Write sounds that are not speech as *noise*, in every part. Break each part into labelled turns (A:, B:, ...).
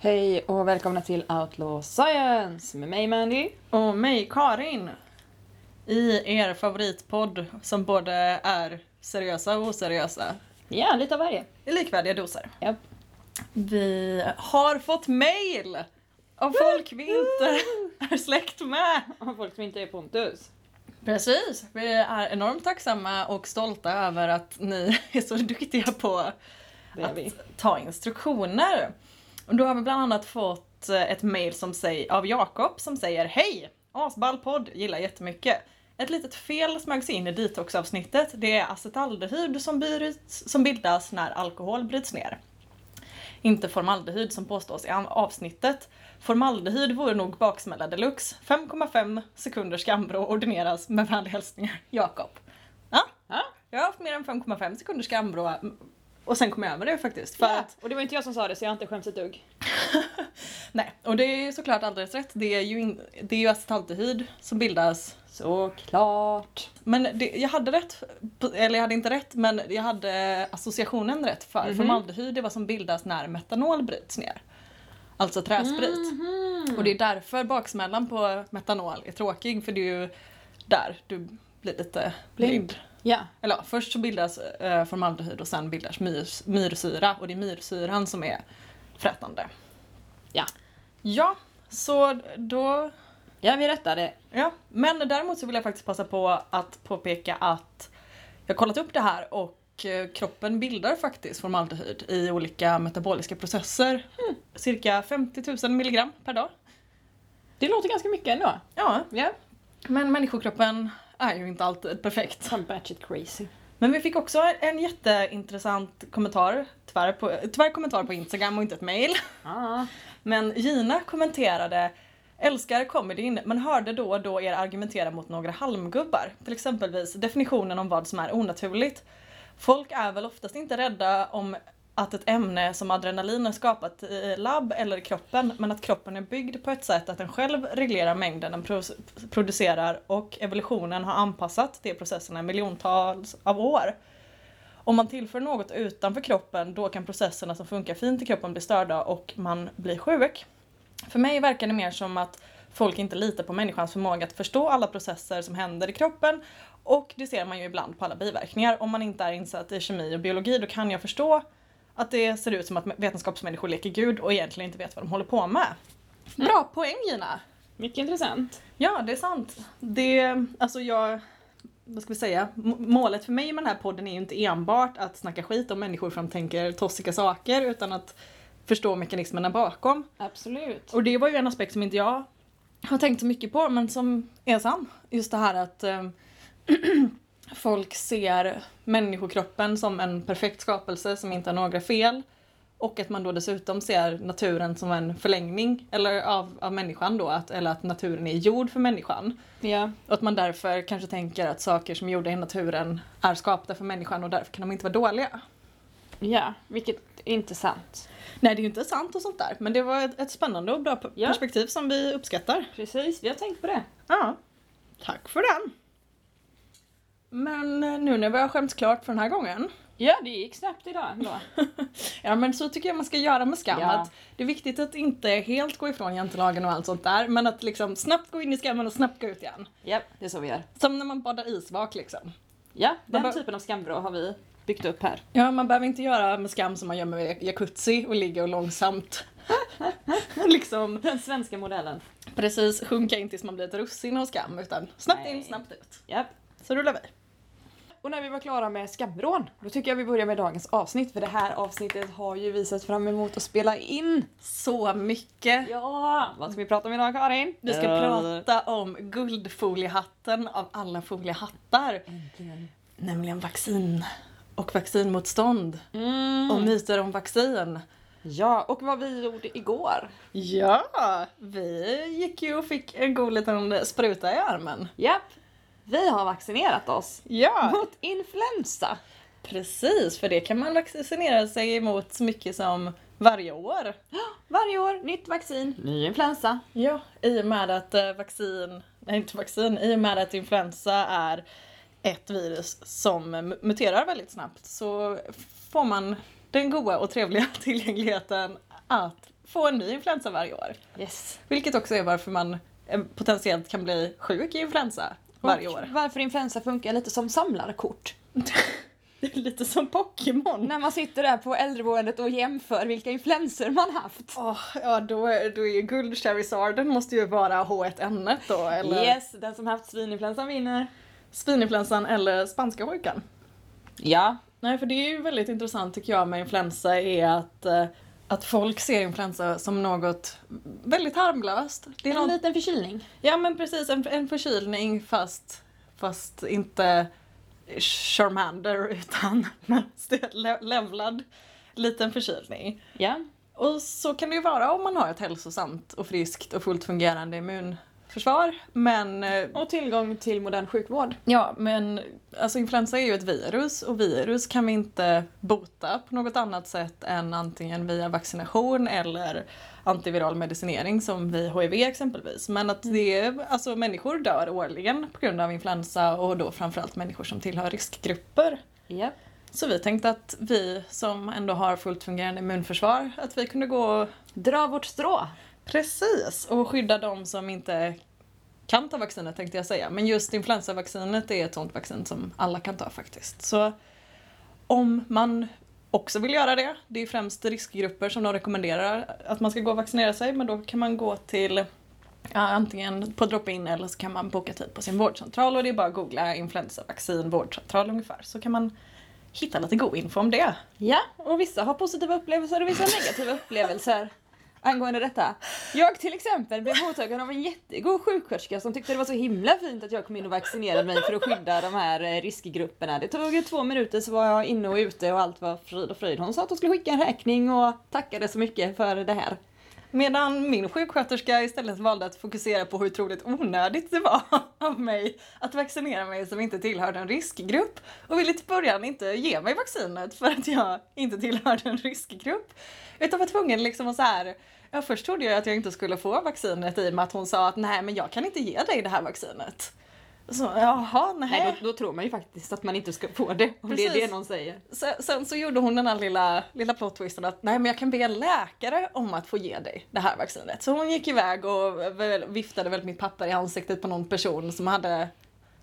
A: Hej och välkomna till Outlaw Science med mig Mandy.
B: Och mig, Karin. I er favoritpodd som både är seriösa och oseriösa.
A: Ja, lite av varje.
B: I likvärdiga doser.
A: Japp.
B: Vi har fått mail! Av folk vi
A: *laughs*
B: inte är släkt med.
A: Och folk som inte är Pontus.
B: Precis! Vi är enormt tacksamma och stolta över att ni är så duktiga på
A: Det är
B: att
A: vi.
B: ta instruktioner. Och då har vi bland annat fått eh, ett mail som säger, av Jakob som säger Hej! Asball podd, gillar jättemycket. Ett litet fel smög sig in i detoxavsnittet. Det är acetaldehyd som, bryts, som bildas när alkohol bryts ner. Inte formaldehyd som påstås i an- avsnittet. Formaldehyd vore nog baksmälla deluxe. 5,5 sekunders skambrå ordineras med vänliga hälsningar Jakob. Ja,
A: Ja.
B: jag har haft mer än 5,5 sekunders skambrå och sen kom jag över det faktiskt. För
A: Ja,
B: att
A: och det var inte jag som sa det så jag har inte skämts ett dugg.
B: Nej, och det är ju såklart alldeles rätt. Det är ju, in, det är ju acetaldehyd som bildas.
A: Såklart.
B: Men det, jag hade rätt, eller jag hade inte rätt, men jag hade associationen rätt för
A: Mhm.
B: formaldehyd är vad som bildas när metanol bryts ner. Alltså träsprit.
A: Mhm.
B: Och det är därför baksmällan på metanol är tråkig, för det är ju där du blir lite
A: Blind.
B: blind.
A: Ja,
B: Eller ja, först så bildas eh, formaldehyd och sen bildas myrs, myrsyra och det är myrsyran som är frätande.
A: Ja.
B: Ja, så då...
A: ja vi rättade.
B: Ja. Men däremot så vill jag faktiskt passa på att påpeka att jag har kollat upp det här och eh, kroppen bildar faktiskt formaldehyd i olika metaboliska processer. Hmm, Cirka 50 000 milligram per dag.
A: Det låter ganska mycket ändå.
B: Ja,
A: Ja.
B: men människokroppen är ju inte alltid perfekt.
A: Som batshit crazy.
B: Men vi fick också en jätteintressant kommentar, tyvärr, på, tyvärr kommentar på Instagram och inte ett mail.
A: Ah.
B: Men Gina kommenterade Älskar comedyn men hörde då och då er argumentera mot några halmgubbar. Till exempelvis definitionen om vad som är onaturligt. Folk är väl oftast inte rädda om att ett ämne som adrenalin är skapat i labb eller i kroppen men att kroppen är byggd på ett sätt att den själv reglerar mängden den pro- producerar och evolutionen har anpassat de processerna i miljontals av år. Om man tillför något utanför kroppen då kan processerna som funkar fint i kroppen bli störda och man blir sjuk. För mig verkar det mer som att folk inte litar på människans förmåga att förstå alla processer som händer i kroppen och det ser man ju ibland på alla biverkningar. Om man inte är insatt i kemi och biologi då kan jag förstå att det ser ut som att vetenskapsmänniskor leker gud och egentligen inte vet vad de håller på med. Bra poäng Gina!
A: Mycket intressant.
B: Ja, det är sant. Det, alltså jag, vad ska vi säga, M- målet för mig med den här podden är ju inte enbart att snacka skit om människor som tänker tossiga saker utan att förstå mekanismerna bakom.
A: Absolut.
B: Och det var ju en aspekt som inte jag har tänkt så mycket på men som är sann. Just det här att eh, *clears throat* folk ser människokroppen som en perfekt skapelse som inte har några fel. Och att man då dessutom ser naturen som en förlängning eller av, av människan då, att, eller att naturen är gjord för människan.
A: Ja.
B: Och att man därför kanske tänker att saker som är gjorda i naturen är skapade för människan och därför kan de inte vara dåliga.
A: ja, vilket är inte sant.
B: Nej, det är ju inte sant och sånt där, men det var ett, ett spännande och bra p-
A: Ja.
B: perspektiv som vi uppskattar.
A: Precis, vi har tänkt på det.
B: Ja, tack för den. Men eh, nu när vi har skämts klart för den här gången,
A: Ja, det gick snabbt idag ändå.
B: ja men så tycker jag man ska göra med skam.
A: Ja.
B: Att det är viktigt att inte helt gå ifrån jantelagen och allt sånt där, men att liksom snabbt gå in i skammen och snabbt gå ut igen.
A: Ja, det är så vi gör.
B: Som när man badar isvak liksom.
A: Ja, den
B: bara-
A: typen av skamvrå har vi byggt upp här.
B: Ja, man behöver inte göra med skam som man gör med jacuzzi och ligga och långsamt *laughs* liksom
A: Den svenska modellen.
B: precis sjunka in tills man blir ett russin av skam utan snabbt in,
A: Nej.
B: snabbt ut.
A: Japp.
B: Så rullar vi.
A: Och när vi var klara med skamrån, då tycker jag vi börjar med dagens avsnitt för det här avsnittet har ju visat fram emot att spela in.
B: Så mycket.
A: Ja! Eh, Vad ska vi prata om idag Karin?
B: Vi ska prata om guldfoliehatten av alla foliehattar, nämligen vaccin och vaccinmotstånd
A: Mm.
B: och myter om vaccin.
A: Ja, och vad vi gjorde igår.
B: Ja, vi gick ju och fick en god liten spruta i armen.
A: Japp! Vi har vaccinerat oss
B: Ja,
A: mot influensa.
B: Precis, för det kan man vaccinera sig emot så mycket som varje år.
A: Varje år, nytt vaccin, ny influensa.
B: Ja, i och med att eh, vaccin, nej inte vaccin, i och med att influensa är ett virus som mu- muterar väldigt snabbt så får man den goda och trevliga *laughs* tillgängligheten att få en ny influensa varje år.
A: Yes.
B: Vilket också är varför man eh, potentiellt kan bli sjuk i influensa
A: Och
B: varje år.
A: Varför influensa funkar lite som samlarkort.
B: Det är *laughs* lite som Pokémon.
A: När man sitter där på äldreboendet och jämför vilka influenser man haft.
B: Åh, ja då är, då är ju guld Charizarden måste ju vara H1N1 då eller
A: Yes, den som haft svininfluensan vinner.
B: svininfluensan eller spanska sjukan.
A: Ja.
B: Nej för det är ju väldigt intressant tycker jag med influensa är att, eh, att folk ser influensa som något väldigt harmlöst. Det är
A: En
B: någon,
A: liten förkylning.
B: ja men precis en, en förkylning fast, fast inte Charmander *laughs* utan mest le- levlad liten förkylning.
A: Ja.
B: Och så kan det ju vara om man har ett hälsosamt och friskt och fullt fungerande immunförsvar. Men, eh,
A: Och tillgång till modern sjukvård.
B: ja, men alltså influensa är ju ett virus och virus kan vi inte bota på något annat sätt än antingen via vaccination eller antiviral medicinering som vid HIV exempelvis. Men att det är, alltså människor dör årligen på grund av influensa och då framförallt människor som tillhör riskgrupper.
A: Ja.
B: Så vi tänkte att vi som ändå har fullt fungerande immunförsvar, att vi kunde gå
A: Dra vårt strå.
B: Precis, och skydda de som inte kan ta vaccinet tänkte jag säga. Men just influensavaccinet är ett sånt vaccin som alla kan ta faktiskt. Så om man också vill göra det, det är främst riskgrupper som de rekommenderar att man ska gå och vaccinera sig, men då kan man gå till ja, antingen på drop-in eller så kan man boka tid på sin vårdcentral och det är bara att googla influensavaccin vårdcentral ungefär så kan man hitta lite god info om det.
A: Ja, och vissa har positiva upplevelser och vissa negativa upplevelser angående detta. Jag till exempel blev mottagen av en jättegod sjuksköterska som tyckte det var så himla fint att jag kom in och vaccinerade mig för att skydda de här eh, riskgrupperna. Det tog ju två minuter så var jag inne och ute och allt var frid och fröjd. Hon sa att hon skulle skicka en räkning och tackade så mycket för det här.
B: Medan min sjuksköterska istället valde att fokusera på hur otroligt onödigt det var *laughs* av mig att vaccinera mig som inte tillhörde en riskgrupp och ville till början inte ge mig vaccinet för att jag inte tillhörde en riskgrupp. Utan var tvungen liksom att så här, ja först trodde jag att jag inte skulle få vaccinet i och med att hon sa att nej men jag kan inte ge dig det här vaccinet. Så jaha, nej.
A: Nej, då, då tror man ju faktiskt att man inte ska få det om det är
B: Precis.
A: det någon säger.
B: Sen, sen så gjorde hon den här lilla, lilla plot twisten att nej men jag kan be en läkare om att få ge dig det här vaccinet. Så hon gick iväg och väl- viftade väl mitt papper i ansiktet på någon person som hade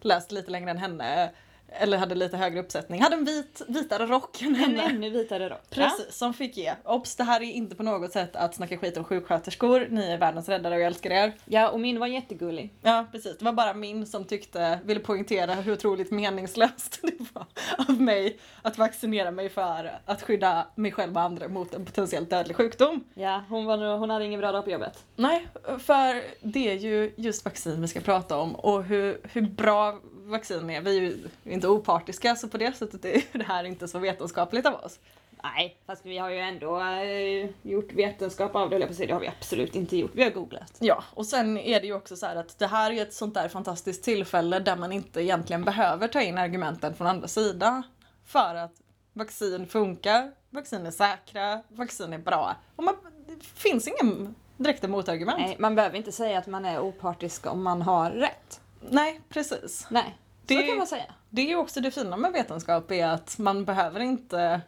B: läst lite längre än henne eller hade lite högre uppsättning. Hade en vit, vitare rock än
A: En
B: henne.
A: ännu vitare rock.
B: Precis, som fick ge. Obs, det här är inte på något sätt att snacka skit om sjuksköterskor. Ni är världens räddare och jag älskar er.
A: Ja, och min var jättegullig.
B: Ja precis, det var bara min som tyckte, ville poängtera hur otroligt meningslöst *laughs* det var av mig att vaccinera mig för att skydda mig själv och andra mot en potentiellt dödlig sjukdom.
A: Ja, hon, var, nog- hon hade ingen bra dag på jobbet.
B: Nej, för det är ju just vaccin vi ska prata om och hur, hur bra vaccin är. Vi är ju inte opartiska så på det sättet är ju det här inte så vetenskapligt av oss.
A: Nej, fast vi har ju ändå eh, gjort vetenskap av det, höll jag på att säga. Det har vi absolut inte gjort. Vi har googlat.
B: Ja, och sen är det ju också så här att det här är ett sånt där fantastiskt tillfälle där man inte egentligen behöver ta in argumenten från andra sidan. För att vaccin funkar, vaccin är säkra, vaccin är bra. Och man, det finns ingen direkta motargument.
A: Nej, man behöver inte säga att man är opartisk om man har rätt.
B: Nej, precis.
A: Nej,
B: Det-
A: så kan man säga.
B: Det är ju också det fina med vetenskap är att man behöver inte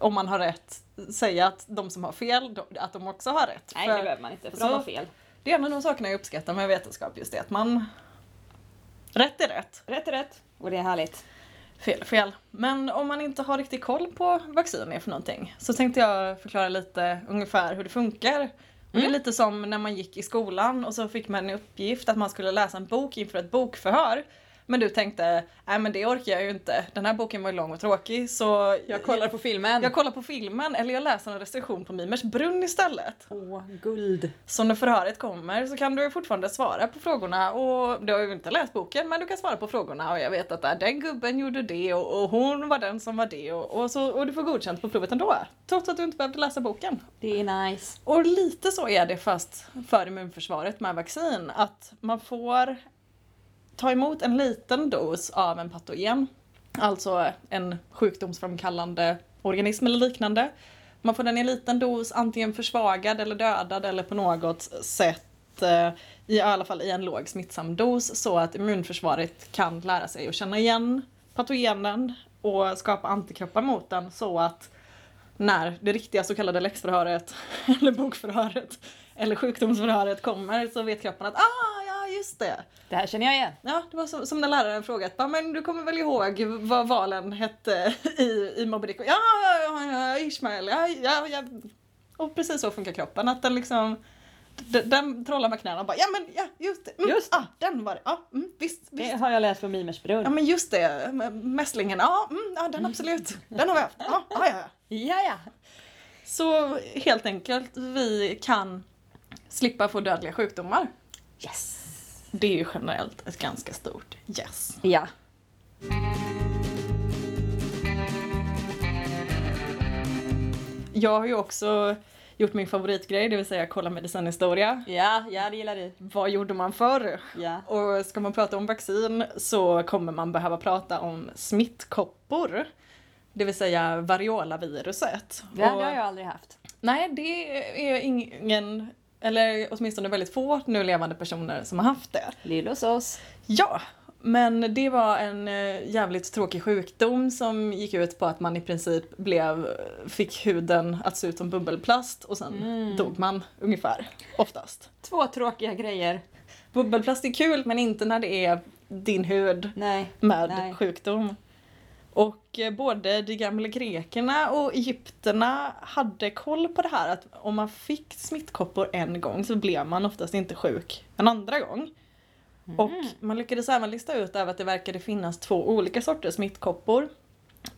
B: om man har rätt säga att de som har fel, de- att de också har rätt.
A: Nej,
B: För-
A: det behöver man inte, för
B: så-
A: de har fel.
B: Det är en av de sakerna jag uppskattar med vetenskap, just det att man... Rätt är rätt,
A: Rätt är rätt, och det är härligt.
B: fel är fel. Men om man inte har riktigt koll på vad vaccin är för någonting så tänkte jag förklara lite ungefär hur det funkar. Och Det är
A: Mm.
B: lite som när man gick i skolan och så fick man en uppgift att man skulle läsa en bok inför ett bokförhör. Men du tänkte, nej men det orkar jag ju inte. Den här boken var ju lång och tråkig så
A: på filmen.
B: jag kollar på filmen eller jag läser en recension på Mimers brunn istället.
A: Åh, guld.
B: Så när förhöret kommer så kan du fortfarande svara på frågorna och du har ju inte läst boken men du kan svara på frågorna och jag vet att där, den gubben gjorde det och, och hon var den som var det och, och, så, och du får godkänt på provet ändå. Trots att du inte behövde läsa boken.
A: Det är nice.
B: Och lite så är det fast för immunförsvaret med vaccin att man får ta emot en liten dos av en patogen, alltså en sjukdomsframkallande organism eller liknande. Man får den i en liten dos, antingen försvagad eller dödad eller på något sätt eh, i alla fall i en låg smittsam dos så att immunförsvaret kan lära sig att känna igen patogenen och skapa antikroppar mot den så att när det riktiga så kallade läxförhöret *laughs* eller bokförhöret eller sjukdomsförhöret kommer så vet kroppen att ah, ja just det.
A: Det här känner jag igen.
B: Ja, det var som, som när läraren frågat "Va, men du kommer väl ihåg vad valen hette *laughs* i, i Moby Dick? Ja, ja, ja, ja, Ishmael, ja, ja, ja. Och precis så funkar kroppen, att den liksom d- den trollar med knäna och bara ja men ja just det, mm,
A: Just
B: ah, den var det, ja mm, visst, visst.
A: Det har jag läst på Mimersbrunn.
B: Ja men just det, m- mässlingen, ja, mm, ja den absolut, den har vi haft, ja, ja, ja. ja.
A: Ja, ja.
B: Så helt enkelt, vi kan slippa få dödliga sjukdomar.
A: Yes.
B: Det är ju generellt ett ganska stort yes.
A: Ja.
B: Jag har ju också gjort min favoritgrej, det vill säga kolla medicinhistoria.
A: Ja, ja det gillar du.
B: Vad gjorde man förr?
A: Ja.
B: Och ska man prata om vaccin så kommer man behöva prata om smittkoppor. Det vill säga variolaviruset.
A: Det hade
B: Och-
A: jag ju aldrig haft.
B: Nej, det är ingen, eller åtminstone väldigt få nu levande personer som har haft det.
A: Lill hos oss.
B: Ja, men det var en eh, jävligt tråkig sjukdom som gick ut på att man i princip blev, eh, fick huden att se ut som bubbelplast och sen dog man ungefär, oftast.
A: Två tråkiga grejer.
B: Bubbelplast är kul men inte när det är din hud
A: Nej.
B: med
A: Nej.
B: sjukdom. Och eh, både de gamla grekerna och egypterna hade koll på det här att om man fick smittkoppor en gång så blev man oftast inte sjuk en andra gång. Och man lyckades även lista ut över att det verkade finnas två olika sorters smittkoppor.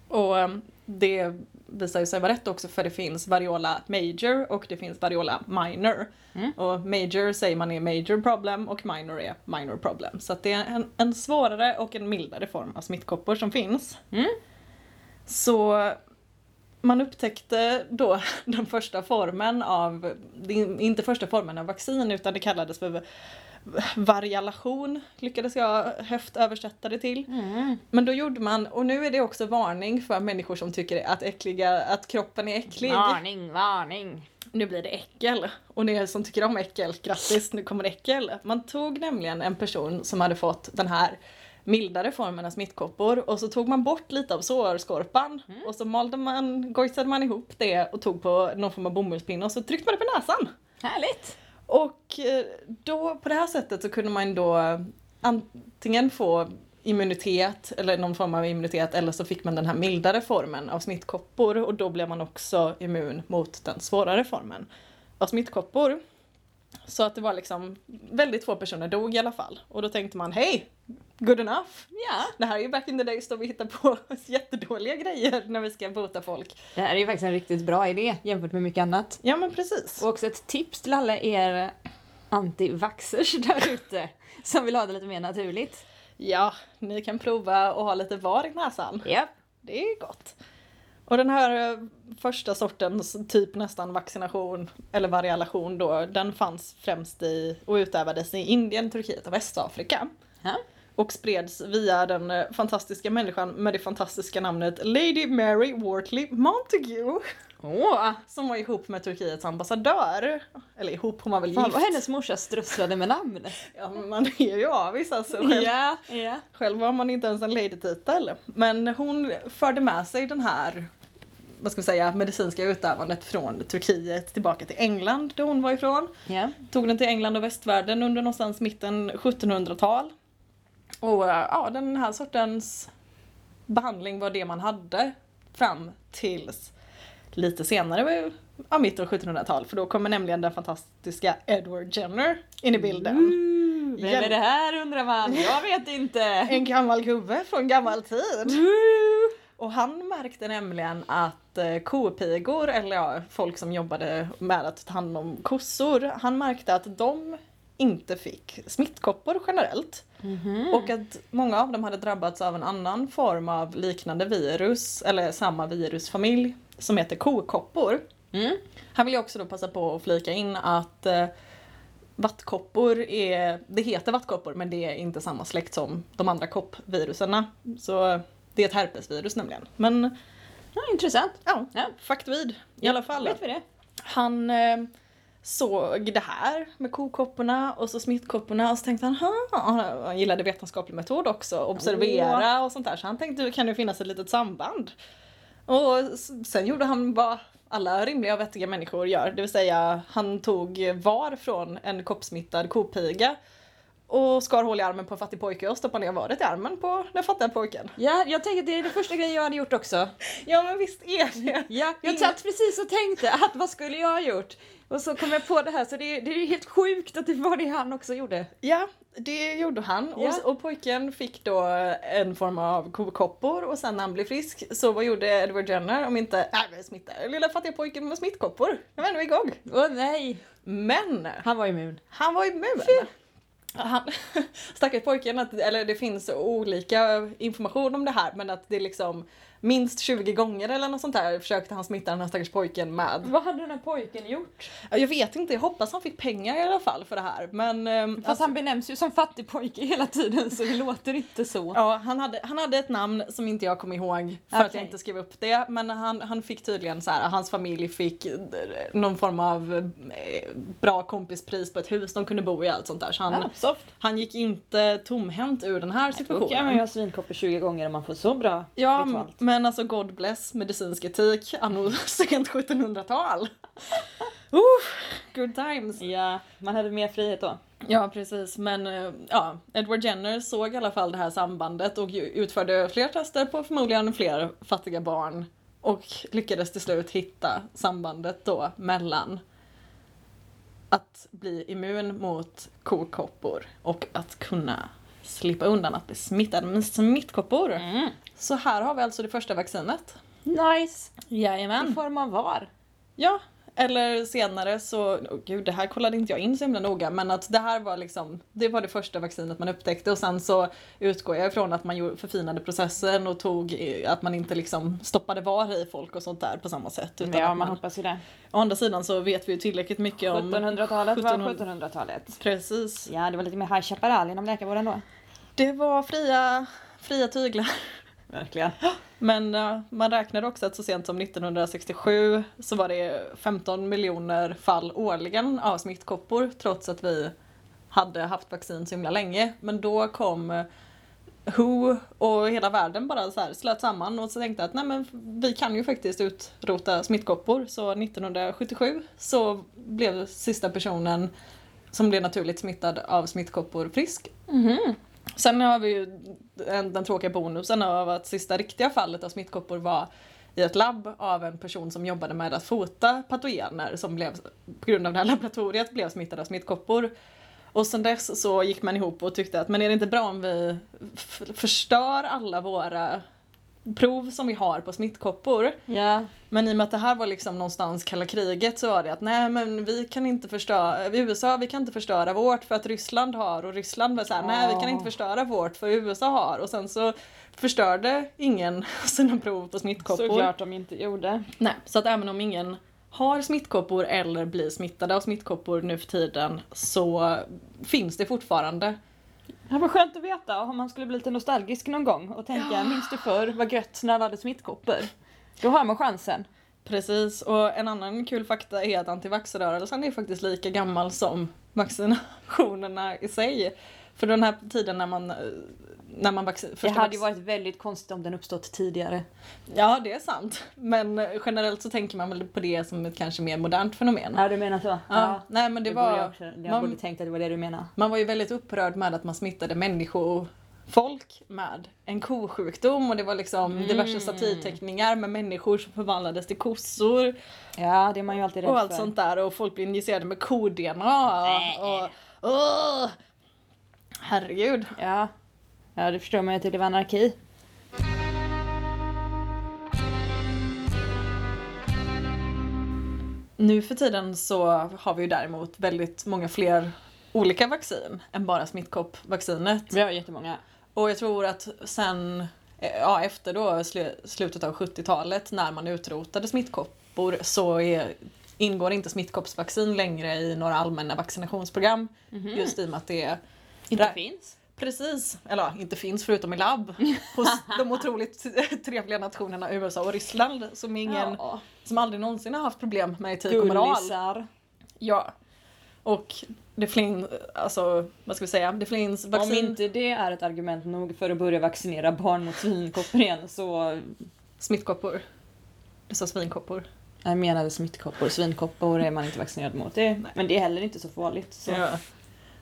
B: Och eh, det visar ju sig vara rätt också för det finns variola major och det finns variola minor.
A: Mm.
B: Och major säger man är major problem och minor är minor problem. Så att det är en, en svårare och en mildare form av smittkoppor som finns.
A: Mm.
B: Så man upptäckte då *laughs* den första formen av, det är inte första formen av vaccin utan det kallades för varialation lyckades jag höft översätta det till.
A: Mm.
B: Men då gjorde man, och nu är det också varning för människor som tycker att, äckliga, att kroppen är äcklig.
A: Varning, varning.
B: Nu blir det äckel. Och ni som tycker om äckel, grattis, nu kommer det äckel. Man tog nämligen en person som hade fått den här mildare formen av smittkoppor och så tog man bort lite av sårskorpan och så malde man, gojsade man ihop det och tog på någon form av bomullspinne och så tryckte man det på näsan.
A: Härligt.
B: Och eh, då på det här sättet så kunde man då antingen få immunitet eller någon form av immunitet eller så fick man den här mildare formen av smittkoppor och då blev man också immun mot den svårare formen av smittkoppor. Så att det var liksom väldigt få personer dog i alla fall och då tänkte man hej, good enough.
A: Ja.
B: Det här är ju back in the days då vi hittar på *laughs* jättedåliga grejer när vi ska bota folk.
A: Det här är ju faktiskt en riktigt bra idé jämfört med mycket annat.
B: Ja men precis.
A: Och också ett tips till alla er antivaxers där ute som vill ha det lite mer naturligt.
B: Ja, ni kan prova och ha lite var i näsan.
A: Japp.
B: Det är gott. Och den här eh, första sortens typ nästan vaccination eller variation då, den fanns främst i och utövades i Indien, Turkiet och Västafrika.
A: Ja.
B: Och spreds via den eh, fantastiska människan med det fantastiska namnet Lady Mary Wortley Montague.
A: Åh!
B: Som var ihop med Turkiets ambassadör. Eller ihop, hon var väl
A: Fan
B: gift.
A: vad hennes morsa strösslade med namn.
B: Ja, men man är ju avis alltså. Själv
A: Ja, ja.
B: Själv har man inte ens en ladytitel. Men hon förde med sig den här vad ska vi säga, medicinska utövandet från Turkiet tillbaka till England där hon var ifrån.
A: Ja.
B: Tog den till England och västvärlden under någonstans mitten 1700-tal. Och eh, ja, den här sortens behandling var det man hade fram tills lite senare, eh, ja, mitten av 1700-tal. För då kommer nämligen den fantastiska Edward Jenner in i bilden.
A: Mm. Ooh, Vem
B: Hjälp.
A: är det här undrar man? Jag vet inte.
B: En gammal gubbe från gammal tid.
A: Ooh.
B: Och han märkte nämligen att eh, kopigor, eller ja, folk som jobbade med att ta hand om kossor, han märkte att de inte fick smittkoppor generellt.
A: Mm.
B: Och att många av dem hade drabbats av en annan form av liknande virus, eller samma virusfamilj, som heter kokoppor.
A: Mm.
B: Här vill jag också då passa på att flika in att eh, vattkoppor är, det heter vattkoppor men det är inte samma släkt som de andra koppviruserna. Så det är ett herpesvirus nämligen. Men
A: Ja, intressant.
B: ja,
A: Ja.
B: faktoid i alla fall.
A: Vet vi det?
B: Han eh, såg det här med kokopporna och så smittkopporna och så tänkte han, "Ha." han gillade vetenskaplig metod också, observera och sånt där. Så han tänkte, kan det finnas ett litet samband? Och s- sen gjorde han vad alla rimliga och vettiga människor gör, det vill säga han tog var från en koppsmittad kopiga och skar hål i armen på en fattig pojke och stoppade ner varet i armen på den fattiga pojken.
A: Ja, jag tänker att det är den första grejen jag hade gjort också.
B: Ja men visst är det!
A: Ja, jag
B: Ingen-
A: satt precis och tänkte att vad skulle jag ha gjort? Och så kom jag på det här så det, är- det är ju helt sjukt att det var det han också gjorde.
B: Ja, det gjorde han.
A: Ja.
B: Och, och pojken fick då en form av kokoppor och sen när han blev frisk så vad gjorde Edward Jenner om inte, nej men smitta lilla fattiga pojken med smittkoppor. Jag var ändå igång.
A: Åh nej,
B: Men
A: han var immun.
B: han var immun. Han, *laughs* stackars pojken, att, eller det finns olika information om det här men att det är liksom minst 20 gånger eller något sånt där försökte han smitta den här stackars pojken med.
A: Vad hade den här pojken gjort?
B: Ja, Jag vet inte, jag hoppas han fick pengar i alla fall för det här men... ehm,
A: Fast han benämns ju som fattig pojke hela tiden så det låter inte så.
B: Ja, han hade, han hade ett namn som inte jag kom ihåg för att jag
A: Okej.
B: inte skrev upp det. Men han, han fick tydligen så här, hans familj fick eh, någon form av eh, bra kompispris på ett hus de kunde bo i och allt sånt där. Så han,
A: soft.
B: han gick inte tomhänt ur den här situationen.
A: ha svinkoppor 20 gånger om man får så bra
B: Ja, men alltså God bless medicinsk etik anno *laughs* sent 1700-tal. Uff, good times.
A: Ja, man hade mer frihet då.
B: Ja precis men eh, ja, Edward Jenner såg i alla fall det här sambandet och ju- utförde fler tester på förmodligen fler fattiga barn och lyckades till slut hitta sambandet då mellan att bli immun mot kokoppor och att kunna slippa undan att bli smittad med smittkoppor.
A: Mm.
B: Så här har vi alltså det första vaccinet.
A: Nice! I
B: Jajamän.
A: form av var.
B: Ja, eller senare så, oh gud det här kollade inte jag in så himla noga men att det här var liksom, det var det första vaccinet man upptäckte och sen så utgår jag ifrån att man gjorde- förfinade processen och tog, eh, att man inte liksom stoppade var i folk och sånt där på samma sätt. Utan att man,
A: hoppas ju det.
B: å andra sidan så vet vi ju tillräckligt mycket om...
A: 1700-talet var
B: 1700
A: 1700-talet.
B: Precis.
A: Ja, det var lite mer High Chaparral inom läkarvården då.
B: Det var fria, fria tyglar.
A: Verkligen.
B: Men ja, man räknade också att så sent som 1967 så var det 15 miljoner fall årligen av smittkoppor trots att vi hade haft vaccin så himla länge. Men då kom eh, WHO och hela världen bara så här slöt samman och så tänkte att nej men vi kan ju faktiskt utrota smittkoppor. Så 1977 så blev sista personen som blev naturligt smittad av smittkoppor frisk Sen har vi ju den, den tråkiga bonusen av att sista riktiga fallet av smittkoppor var i ett labb av en person som jobbade med att fota patogener som blev, på grund av det här laboratoriet blev smittade av smittkoppor. Och sen dess så gick man ihop och tyckte att men är det inte bra om vi f- förstör alla våra prov som vi har på smittkoppor?
A: Ja.
B: Men i och med att det här var liksom någonstans kalla kriget så var det att nej men vi kan inte förstöra, USA vi kan inte förstöra vårt för att Ryssland har och Ryssland var såhär nej vi kan inte förstöra vårt för USA har och sen så förstörde ingen *laughs* sina prov på smittkoppor.
A: Såklart de inte gjorde.
B: Nej, så att även om ingen har smittkoppor eller blir smittade av smittkoppor nu för tiden så finns det fortfarande.
A: Det var skönt att veta om man skulle bli lite nostalgisk någon gång och tänka minns du förr vad gött när alla hade smittkoppor? Då har man chansen.
B: Precis, och en annan kul fakta är att antivaxrörelsen är faktiskt lika gammal som vaccinationerna i sig. För den här tiden när man, eh, när man vaccin,
A: Det
B: första
A: hade ju
B: vax-
A: varit väldigt konstigt om den uppstått tidigare.
B: Ja, det är sant. Men eh, generellt så tänker man väl på det som ett kanske mer modernt fenomen.
A: Ja du menar så? Ja.
B: Ja, nej men det,
A: borde jag,
B: var...
A: också, jag
B: man-
A: borde tänkt att det var det du menade.
B: Man var ju väldigt upprörd med att man smittade människor folk med en kosjukdom och det var liksom
A: Mm.
B: diverse satirteckningar med människor som förvandlades till kossor
A: Ja det är man ju alltid rädd
B: och allt
A: för.
B: sånt där och folk blir injicerade med ko-DNA och, Åh! Herregud.
A: Ja. ja det förstår man ju att det blev anarki.
B: Nu för tiden så har vi ju däremot väldigt många fler olika vaccin än bara smittkoppvaccinet.
A: Vi har jättemånga.
B: Och jag tror att sen, eh, ja efter då slu- slutet av 70-talet när man utrotade smittkoppor så är, ingår inte smittkoppsvaccin längre i några allmänna vaccinationsprogram.
A: Mhm. Mm.
B: Just i och med att det är Inte
A: finns.
B: Precis, eller ja, inte finns förutom i labb
A: *laughs*
B: hos de otroligt trevliga nationerna USA och Ryssland som, ingen,
A: Ja.
B: som aldrig någonsin har haft problem med etik och moral.
A: Gullisar.
B: Ja. Och det finns, alltså vad ska vi säga, det finns
A: Om
B: vaccin,
A: inte det är ett argument nog för att börja vaccinera barn mot svinkoppor igen så
B: smittkoppor. Dessa svinkoppor.
A: Jag menade smittkoppor, svinkoppor är man inte vaccinerad mot. Det, men det är heller inte så farligt. Så.
B: Ja.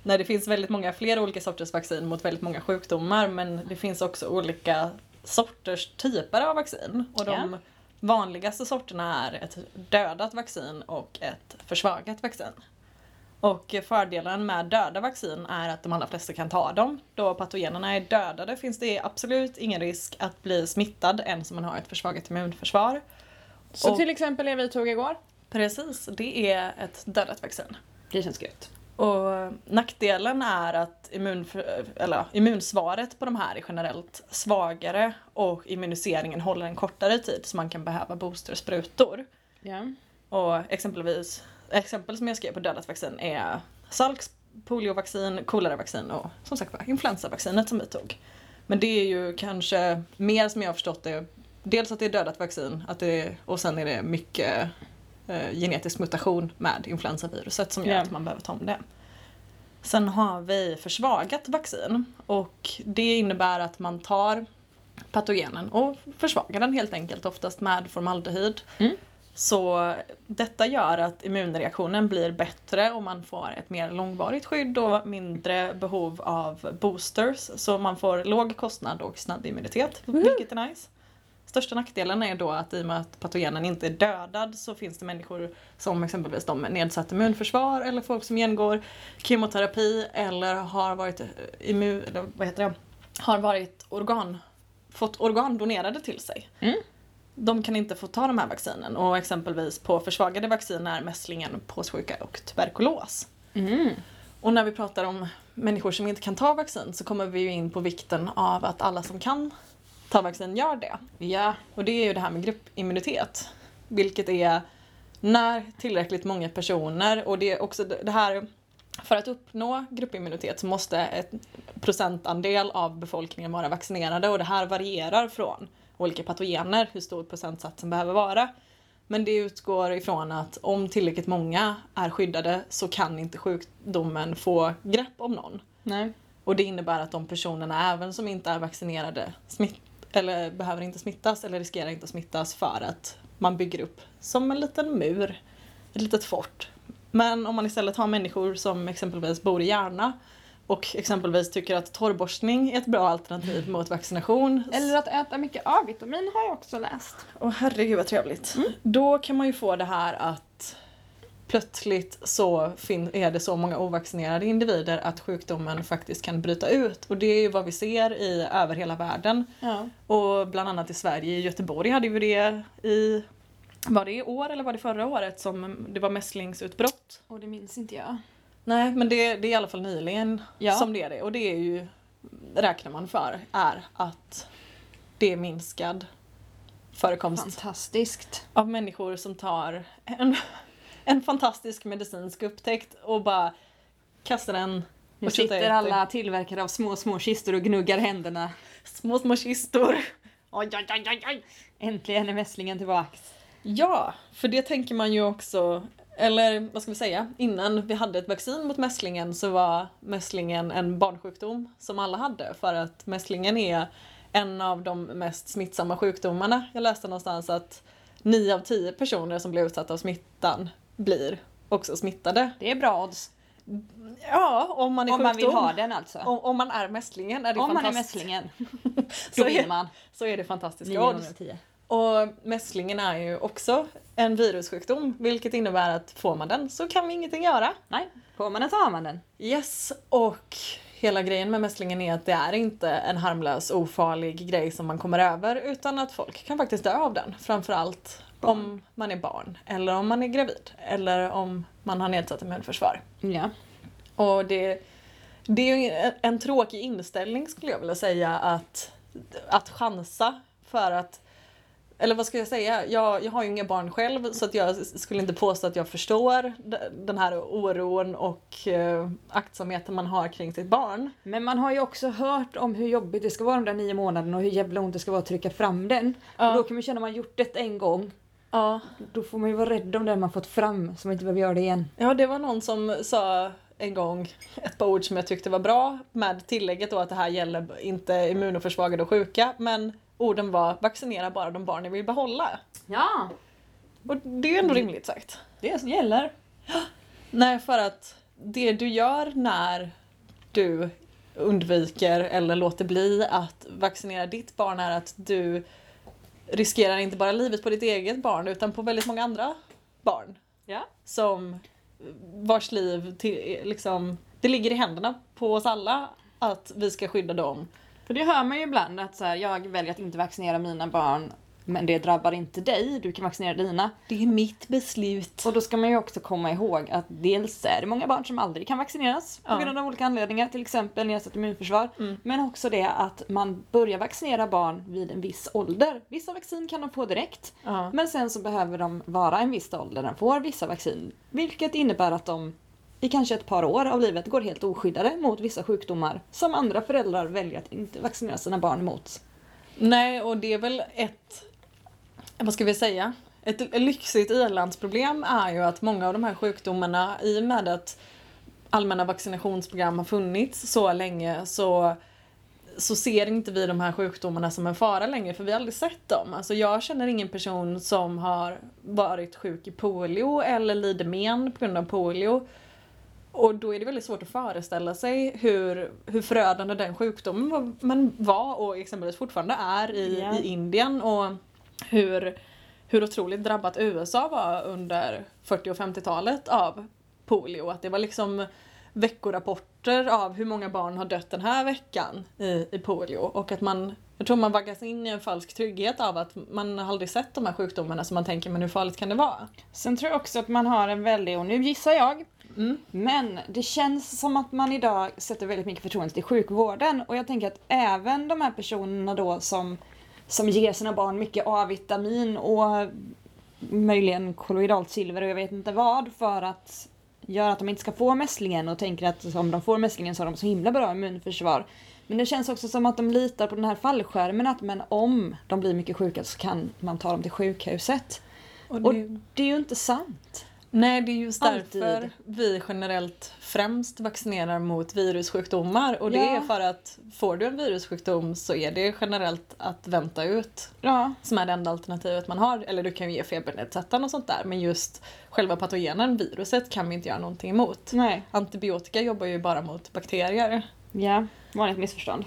B: Nej, det finns väldigt många fler olika sorters vaccin mot väldigt många sjukdomar men det finns också olika sorters typer av vaccin. Och de
A: Ja.
B: vanligaste sorterna är ett dödat vaccin och ett försvagat vaccin. Och fördelen med döda vaccin är att de allra flesta kan ta dem. Då patogenerna är dödade finns det absolut ingen risk att bli smittad ens om man har ett försvagat immunförsvar.
A: så
B: Och-
A: till exempel det vi tog igår.
B: Precis, det är ett dödat vaccin.
A: Det känns gött.
B: Och nackdelen är att immunför, eller, immunsvaret på de här är generellt svagare och immuniseringen håller en kortare tid så man kan behöva boostersprutor.
A: Ja.
B: Och exempelvis, exempel som jag skrev på dödat vaccin är Salks poliovaccin, koleravaccin och som sagt var influensavaccinet som vi tog. Men det är ju kanske mer som jag har förstått det, dels att det är dödat vaccin att det, och sen är det mycket eh, genetisk mutation med influensaviruset som gör
A: Ja.
B: att man behöver ta om det. Sen har vi försvagat vaccin och det innebär att man tar patogenen och försvagar den helt enkelt, oftast med formaldehyd.
A: Mm.
B: Så detta gör att immunreaktionen blir bättre och man får ett mer långvarigt skydd och mindre behov av boosters. Så man får låg kostnad och snabb immunitet, vilket är nice. Största nackdelen är då att i och med att patogenen inte är dödad så finns det människor som exempelvis de med nedsatt immunförsvar eller folk som genomgår kemoterapi eller har varit eh, immun, eller vad heter det? Har varit organ, fått organ donerade till sig.
A: Mm.
B: De kan inte få ta de här vaccinen och exempelvis på försvagade vacciner är mässlingen, påssjuka och tuberkulos.
A: Mm.
B: Och när vi pratar om människor som inte kan ta vaccin så kommer vi ju in på vikten av att alla som kan ta vaccin gör det.
A: Ja.
B: Och det är ju det här med gruppimmunitet. Vilket är när tillräckligt många personer och det är också det det här för att uppnå gruppimmunitet så måste ett procentandel av befolkningen vara vaccinerade och det här varierar från olika patogener hur stor procentsatsen behöver vara. Men det utgår ifrån att om tillräckligt många är skyddade så kan inte sjukdomen få grepp om någon.
A: Nej.
B: Och det innebär att de personerna även som inte är vaccinerade smitt, eller behöver inte smittas eller riskerar inte att smittas för att man bygger upp som en liten mur, ett litet fort. Men om man istället har människor som exempelvis bor i Järna och exempelvis tycker att torrborstning är ett bra alternativ mot vaccination.
A: Eller att äta mycket A-vitamin har jag också läst.
B: Åh herregud vad trevligt. Då kan man ju få det här att plötsligt så fin- är det så många ovaccinerade individer att sjukdomen faktiskt kan bryta ut. Och det är ju vad vi ser i, över hela världen.
A: Ja.
B: Och bland annat i Sverige, i Göteborg hade vi det i, var det i år eller var det förra året som det var mässlingsutbrott?
A: Och det minns inte jag.
B: Nej men det, det är i alla fall nyligen
A: Ja.
B: som det är det. Och det är ju, räknar man för, är att det är minskad förekomst
A: Fantastiskt.
B: av människor som tar en, en fantastisk medicinsk upptäckt och bara kastar den
A: Nu
B: och tjutar
A: sitter
B: ut
A: alla tillverkare av små, små kistor och gnuggar händerna.
B: i små, små kistor. Oj, oj, oj, oj, oj.
A: Äntligen är mässlingen tillbaks.
B: Ja, för det tänker man ju också, eller vad ska vi säga, innan vi hade ett vaccin mot mässlingen så var mässlingen en barnsjukdom som alla hade för att mässlingen är en av de mest smittsamma sjukdomarna. Jag läste någonstans att 9 av 10 personer som blir utsatta av smittan blir också smittade.
A: Det är bra odds.
B: Ja, om man är
A: Om man vill
B: sjukdom.
A: ha den alltså.
B: Om, om man är mässlingen är det
A: Om man är
B: fantastiskt.
A: mässlingen,
B: *laughs* så
A: då
B: är,
A: vinner man.
B: så är det fantastiska
A: 9 av
B: odds.
A: 10.
B: Och mässlingen är ju också en virussjukdom vilket innebär att får man den så kan vi ingenting göra.
A: Nej, får man den så har man den.
B: Yes, och hela grejen med mässlingen är att det är inte en harmlös ofarlig grej som man kommer över utan att folk kan faktiskt dö av den. Framförallt om man är barn eller om man är gravid eller om man har nedsatt immunförsvar.
A: Ja.
B: Och det, det är ju en tråkig inställning skulle jag vilja säga att, att chansa för att eller vad ska jag säga? Jag, jag har ju inga barn själv så att jag s- skulle inte påstå att jag förstår d- den här oron och eh, aktsamheten man har kring sitt barn.
A: Men man har ju också hört om hur jobbigt det ska vara de där nio månaderna och hur jävla ont det ska vara att trycka fram den.
B: Ja.
A: Och då kan man känna att man gjort detta en gång,
B: Ja.
A: då får man ju vara rädd om den man fått fram så man inte behöver göra det igen.
B: ja, det var någon som sa en gång ett par ord som jag tyckte var bra med tillägget då att det här gäller inte immunoförsvagade och sjuka men orden var vaccinera bara de barn ni vill behålla.
A: Ja,
B: Och det är ju ändå rimligt sagt.
A: det gäller.
B: Mm. Nej, för att det du gör när du undviker eller låter bli att vaccinera ditt barn är att du riskerar inte bara livet på ditt eget barn utan på väldigt många andra barn
A: Ja.
B: som vars liv till, liksom, det ligger i händerna på oss alla att vi ska skydda dem.
A: För det hör man ju ibland att så här, jag väljer att inte vaccinera mina barn men det drabbar inte dig, du kan vaccinera dina.
B: Det är mitt beslut.
A: Och då ska man ju också komma ihåg att dels är det många barn som aldrig kan vaccineras på
B: Ja.
A: grund av olika anledningar, till exempel nedsatt immunförsvar.
B: Mm.
A: Men också det att man börjar vaccinera barn vid en viss ålder. Vissa vaccin kan de få direkt,
B: Ja.
A: men sen så behöver de vara en viss ålder när de får vissa vaccin. Vilket innebär att de i kanske ett par år av livet går helt oskyddade mot vissa sjukdomar som andra föräldrar väljer att inte vaccinera sina barn mot.
B: Nej, och det är väl ett, vad ska vi säga, ett lyxigt i-landsproblem är ju att många av de här sjukdomarna i och med att allmänna vaccinationsprogram har funnits så länge så, så ser inte vi de här sjukdomarna som en fara längre för vi har aldrig sett dem. Alltså jag känner ingen person som har varit sjuk i polio eller lider men på grund av polio. Och då är det väldigt svårt att föreställa sig hur, hur förödande den sjukdomen var, men var och exempelvis fortfarande är i,
A: Ja.
B: i Indien och hur, hur otroligt drabbat USA var under 40 och 50-talet av polio. Att det var liksom veckorapporter av hur många barn har dött den här veckan i, i polio. Och att man, jag tror man vaggas in i en falsk trygghet av att man har aldrig sett de här sjukdomarna så man tänker men hur farligt kan det vara?
A: Sen tror jag också att man har en väldig, och nu gissar jag,
B: Mm.
A: Men det känns som att man idag sätter väldigt mycket förtroende till sjukvården och jag tänker att även de här personerna då som, som ger sina barn mycket A-vitamin och möjligen kolloidalt silver och jag vet inte vad för att göra att de inte ska få mässlingen och tänker att om de får mässlingen så har de så himla bra immunförsvar. Men det känns också som att de litar på den här fallskärmen att men om de blir mycket sjuka så kan man ta dem till sjukhuset.
B: Och
A: Och
B: det-
A: det är ju inte sant.
B: Nej, det är just
A: Alltid.
B: därför vi generellt främst vaccinerar mot virussjukdomar. Och det
A: Ja.
B: är för att får du en virussjukdom så är det generellt att vänta ut
A: Ja,
B: som är det enda alternativet man har. Eller du kan ju ge febernedsättaren och sånt där men just själva patogenen, viruset, kan vi inte göra någonting emot.
A: nej.
B: Antibiotika jobbar ju bara mot bakterier.
A: Ja, vanligt missförstånd.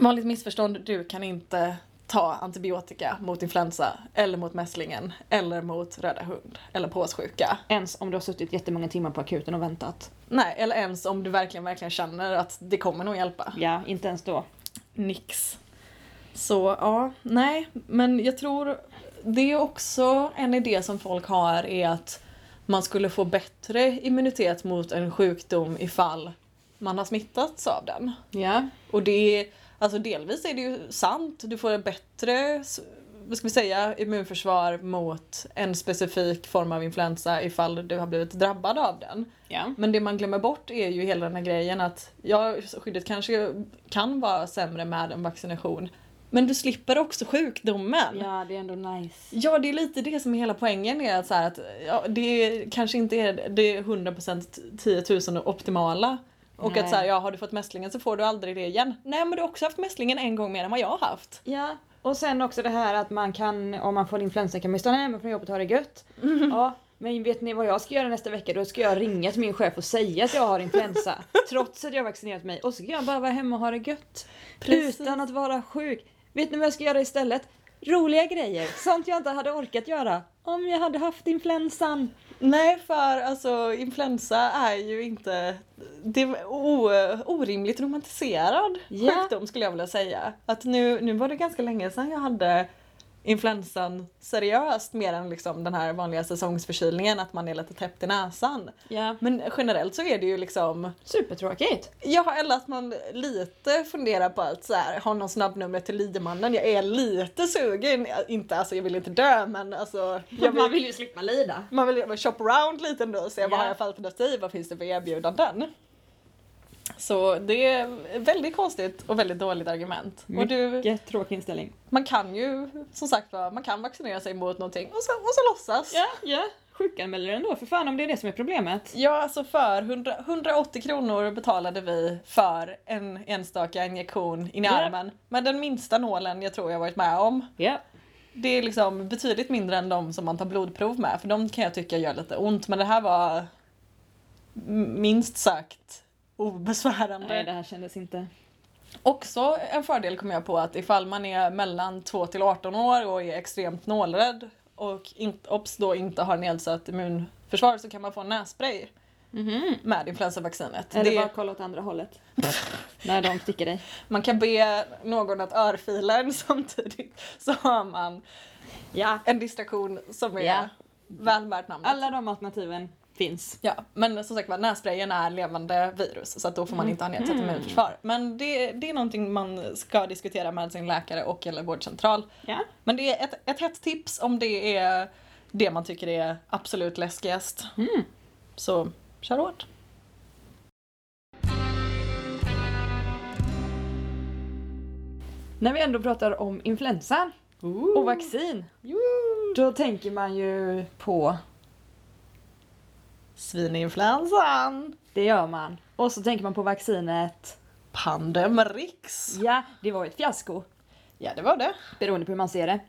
B: Vanligt missförstånd, du kan inte ta antibiotika mot influensa eller mot mässlingen eller mot röda hund eller påssjuka.
A: Ens om du har suttit jättemånga timmar på akuten och väntat.
B: Nej, eller ens om du verkligen, verkligen känner att det kommer nog hjälpa.
A: Ja, inte ens då.
B: Nix. Så ja, nej, men jag tror det är också en idé som folk har är att man skulle få bättre immunitet mot en sjukdom ifall man har smittats av den.
A: Ja.
B: Och det är, alltså delvis är det ju sant, du får ett bättre s- vad ska vi säga, immunförsvar mot en specifik form av influensa ifall du har blivit drabbad av den.
A: Ja.
B: Men det man glömmer bort är ju hela den här grejen att ja, skyddet kanske kan vara sämre med en vaccination. Men du slipper också sjukdomen.
A: ja, det är ändå nice.
B: Ja, det är lite det som är hela poängen är att, så här att ja, det kanske inte är det 100% 10 000 optimala. Och
A: Nej.
B: att så här, ja, har du fått mässlingen så får du aldrig det igen. Nej, men du har också haft mässlingen en gång mer än vad jag har haft.
A: Ja, och sen också det här att man kan, om man får influensa kan man ju stanna hemma från jobbet och ha det gött. Ja, men vet ni vad jag ska göra nästa vecka? Då ska jag ringa till min chef och säga att jag har *laughs* influensa. trots att jag har vaccinerat mig. Och så kan jag bara vara hemma och ha det gött.
B: Precis.
A: Utan att vara sjuk. Vet ni vad jag ska göra istället? Roliga grejer. Sånt jag inte hade orkat göra. Om jag hade haft influensan.
B: Nej, för alltså influensa är ju inte... Det är o, orimligt romantiserad
A: Ja.
B: sjukdom skulle jag vilja säga. Att nu, nu var det ganska länge sedan jag hade influensan seriöst mer än liksom den här vanliga säsongsförkylningen att man är lite täppt i näsan.
A: Ja.
B: Men generellt så är det ju liksom,
A: Supertråkigt.
B: ja eller att man lite funderar på att så här, har någon snabbnumret till Liemannen, jag är lite sugen, inte alltså jag vill inte dö men alltså
A: *laughs*
B: jag vill
A: Man vill ju slippa lida.
B: man vill shop around lite ändå och se
A: Ja.
B: vad har jag för alternativ, vad finns det för erbjudanden? Så det är väldigt konstigt och väldigt dåligt argument. Och du,
A: Vilket tråkig inställning.
B: man kan ju som sagt va, man kan vaccinera sig mot någonting och så, och så låtsas.
A: Ja, ja. Sjukanmäler ändå för fan om det är det som är problemet.
B: Ja, alltså för 100, 180 kronor betalade vi för en enstaka injektion in i
A: Ja.
B: armen. Med den minsta nålen jag tror jag varit med om.
A: Ja.
B: Det är liksom betydligt mindre än de som man tar blodprov med, för de kan jag tycka gör lite ont. Men det här var m- minst sagt obesvärande.
A: Nej, det här kändes inte.
B: Också en fördel kom jag på att ifall man är mellan 2 till 18 år och är extremt nålrädd och inte, obs då inte har nedsatt immunförsvar så kan man få en nässpray
A: Mhm.
B: med influensavaccinet.
A: Eller
B: Det-
A: bara kolla åt andra hållet. När de sticker dig.
B: Man kan be någon att örfila en *laughs* samtidigt så har man
A: Ja.
B: en distraktion som är
A: Ja.
B: väl värd namnet.
A: Alla de alternativen finns.
B: Ja, men som sagt var nässprayen är levande virus så att då får
A: Mm.
B: man inte ha nedsatt immunförsvar. Men det, det är någonting man ska diskutera med sin läkare och eller vårdcentral.
A: Ja.
B: Men det är ett, ett hett tips om det är det man tycker är absolut läskigast.
A: Mm.
B: Så kör hårt.
A: När vi ändå pratar om influensan och vaccin, då tänker man ju på
B: Svininfluensan.
A: Det gör man. Och så tänker man på vaccinet.
B: Pandemrix.
A: Ja, det var ju ett fiasko.
B: Ja, det var det.
A: Beroende på hur man ser det.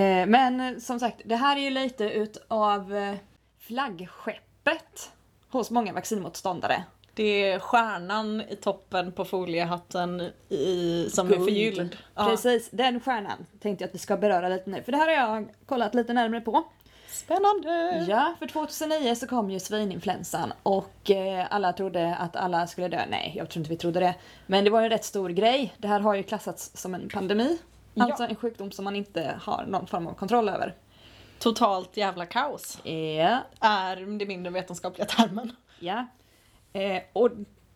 A: Eh, Men eh, som sagt, det här är ju lite utav eh, flaggskeppet hos många vaccinmotståndare.
B: Det är stjärnan i toppen på foliehatten i, som är
A: Guld.
B: förgylld. Ja.
A: Precis, den stjärnan tänkte jag att vi ska beröra lite nu. För det här har jag kollat lite närmare på.
B: Spännande!
A: Ja, för 2009 så kom ju svininfluensan och eh, alla trodde att alla skulle dö. Nej, jag tror inte vi trodde det. Men det var ju en rätt stor grej. Det här har ju klassats som en pandemi.
B: Ja.
A: Alltså en sjukdom som man inte har någon form av kontroll över.
B: Totalt jävla kaos
A: Ja.
B: är det mindre vetenskapliga termen.
A: ja. Eh, och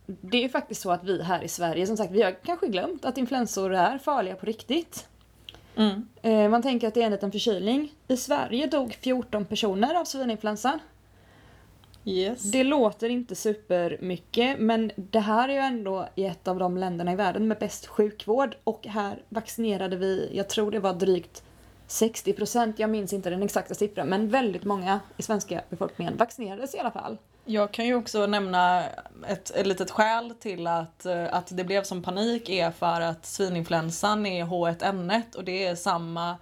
A: det är ju faktiskt så att vi här i Sverige, som sagt, vi har kanske glömt att influensor är farliga på riktigt.
B: Mm.
A: Eh, man tänker att det är en liten förkylning. I Sverige dog 14 personer av svininfluensan.
B: Yes.
A: Det låter inte supermycket men det här är ju ändå i ett av de länderna i världen med bäst sjukvård och här vaccinerade vi, jag tror det var drygt 60%, jag minns inte den exakta siffran, men väldigt många i svenska befolkningen vaccinerades i alla fall.
B: Jag kan ju också nämna ett, ett litet skäl till att, eh, att det blev som panik är för att svininfluensan är H1N1 och det är samma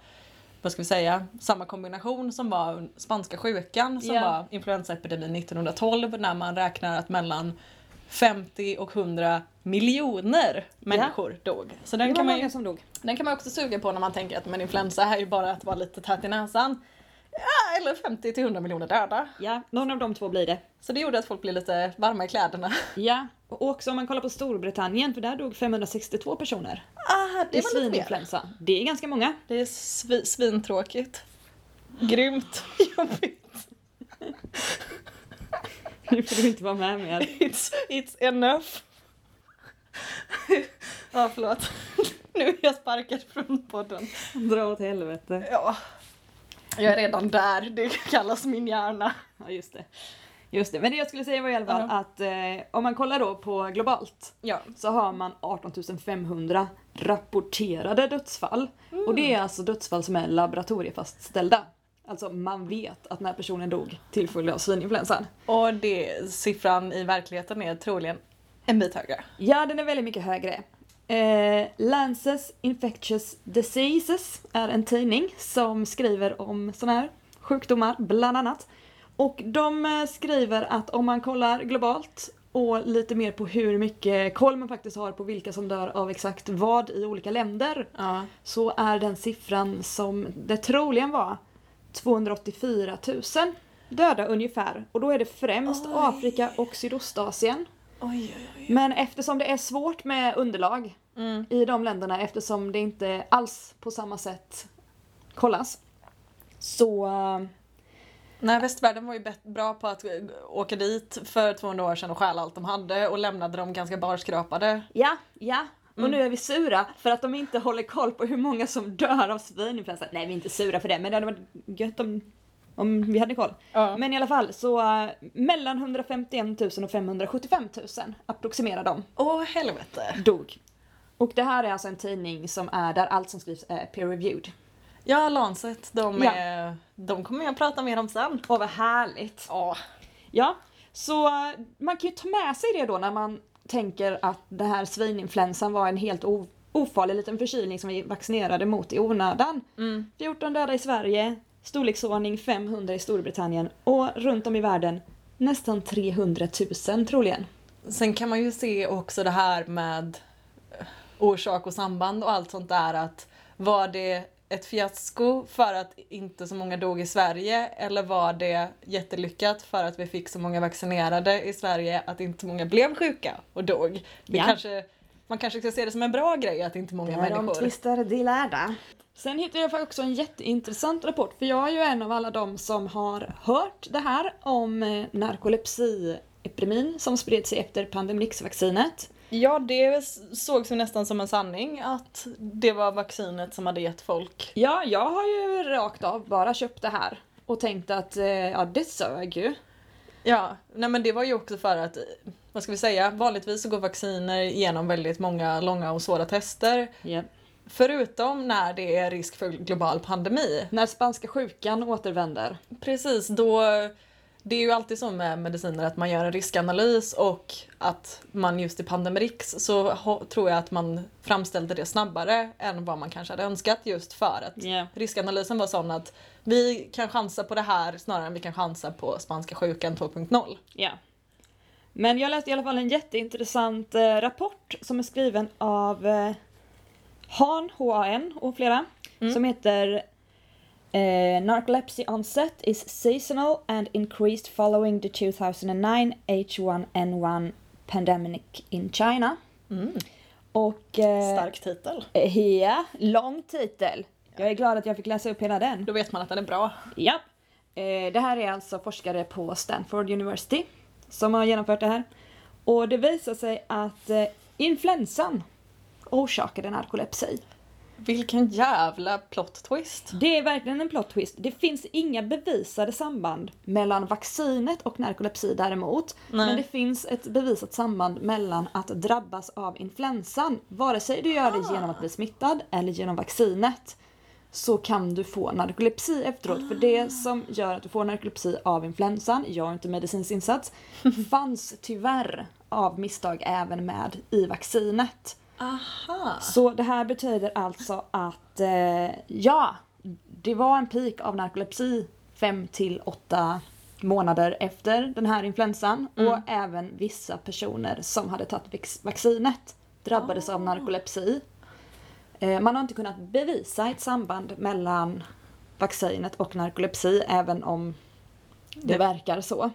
B: vad ska vi säga, samma kombination som var spanska sjukan som
A: Ja.
B: var influensaepidemin 1912 när man räknar att mellan 50 och 100 miljoner människor dog. Så den
A: det var
B: kan, man
A: många
B: ju,
A: som dog.
B: den kan man också suga på när man tänker att men influensa är ju bara att vara lite tät i näsan. Ja, eller 50 till 100 miljoner döda.
A: Ja, någon av de två blir det.
B: Så det gjorde att folk blev lite varma i kläderna.
A: Ja, och också om man kollar på Storbritannien, för där dog 562 personer.
B: Ah,
A: Det är svininfluensa. Det är ganska många. *laughs*
B: Det är svi, svintråkigt. Grymt *laughs* jobbigt.
A: Nu får du inte vara med mer.
B: It's, it's enough. *laughs* Ja, förlåt. *laughs* Nu är jag sparkad från podden.
A: *laughs* Dra åt helvete.
B: Ja. Jag är redan där, det kallas min hjärna.
A: Ja just det. Just det. Men det jag skulle säga var i alla fall
B: Ja.
A: att eh, om man kollar då på globalt
B: Ja.
A: så har man 18 500 rapporterade dödsfall. Och det är alltså dödsfall som är laboratoriefastställda. Alltså man vet att den här personen dog till följd av svininfluensan.
B: Och det, siffran i verkligheten är troligen en bit högre.
A: Ja den är väldigt mycket högre. Eh, Lances Infectious Diseases är en tidning som skriver om sådana här sjukdomar bland annat. Och de eh, skriver att om man kollar globalt och lite mer på hur mycket koll man faktiskt har på vilka som dör av exakt vad i olika länder
B: Ja.
A: så är den siffran som det troligen var 284 000 döda ungefär. Och då är det främst
B: Oj.
A: Afrika och Sydostasien.
B: Oj, oj, oj.
A: Men eftersom det är svårt med underlag
B: Mm.
A: i de länderna eftersom det inte alls på samma sätt kollas. Så... eh,
B: Nej, västvärlden var ju bet- bra på att eh, åka dit för 200 år sedan och stjäla allt de hade och lämnade dem ganska barskrapade.
A: Ja, ja. Och nu är vi sura för att de inte håller koll på hur många som dör av svininfluensa. Nej vi är inte sura för det men det hade varit gött om om vi hade koll.
B: Ja.
A: Men i alla fall så eh, mellan 151 000 och 575 000 approximerar de
B: Åh helvete.
A: dog. Och det här är alltså en tidning som är där allt som skrivs är peer reviewed.
B: Ja, Lancet, de,
A: Ja.
B: Är, de kommer jag prata mer om sen.
A: Åh vad härligt!
B: Ja.
A: Ja, så eh, man kan ju ta med sig det då när man tänker att det här svininfluensan var en helt o- ofarlig liten förkylning som vi vaccinerade mot i onödan.
B: Mm.
A: 14 döda i Sverige, storleksordning 500 i Storbritannien och runt om i världen nästan 300 000 troligen.
B: Sen kan man ju se också det här med eh, orsak och samband och allt sånt där att var det ett fiasko för att inte så många dog i Sverige eller var det jättelyckat för att vi fick så många vaccinerade i Sverige att inte så många blev sjuka och dog? Det
A: Ja.
B: kanske, man kanske ska se det som en bra grej att inte många människor...
A: tvistar de lärda. Sen hittade jag också en jätteintressant rapport för jag är ju en av alla de som har hört det här om eh, narkolepsiepidemin som spred sig efter pandemrixvaccinet.
B: Ja, det s- sågs ju nästan som en sanning att det var vaccinet som hade gett folk.
A: Ja, jag har ju rakt av bara köpt det här och tänkt att eh, ja, det sög ju.
B: Ja, nej men det var ju också för att, eh, vad ska vi säga, vanligtvis så går vacciner igenom väldigt många långa och svåra tester. Förutom när det är risk för global pandemi.
A: När spanska sjukan återvänder.
B: Precis, då, det är ju alltid så med mediciner att man gör en riskanalys och att man just i Pandemrix så ho- tror jag att man framställde det snabbare än vad man kanske hade önskat just för att
A: Ja.
B: riskanalysen var sån att vi kan chansa på det här snarare än vi kan chansa på spanska sjukan 2.0.
A: Ja. Men jag läste i alla fall en jätteintressant eh, rapport som är skriven av eh, Han, H-A-N och flera. Som heter eh, Narcolepsy onset is seasonal and increased following the 2009 H1N1 pandemic in China. Mm. Och... eh,
B: Stark titel.
A: eh, Ja, lång titel. Jag är glad att jag fick läsa upp hela den.
B: Då vet man att den är bra.
A: Ja. Eh, Det här är alltså forskare på Stanford University som har genomfört det här. Och det visar sig att eh, influensan orsakade narkolepsi.
B: Vilken jävla plot twist.
A: Det är verkligen en plot twist. Det finns inga bevisade samband mellan vaccinet och narkolepsi däremot.
B: Nej.
A: Men det finns ett bevisat samband mellan att drabbas av influensan. Vare sig du gör
B: Ah.
A: det genom att bli smittad eller genom vaccinet så kan du få narkolepsi efteråt. För
B: Ah.
A: det som gör att du får narkolepsi av influensan, jag är inte medicinskt insatt, *laughs* fanns tyvärr av misstag även med i vaccinet.
B: Aha.
A: Så det här betyder alltså att eh, ja, det var en peak av narkolepsi 5 till 8 månader efter den här influensan och även vissa personer som hade tagit vax- vaccinet drabbades av narkolepsi. Eh, man har inte kunnat bevisa ett samband mellan vaccinet och narkolepsi även om det verkar så.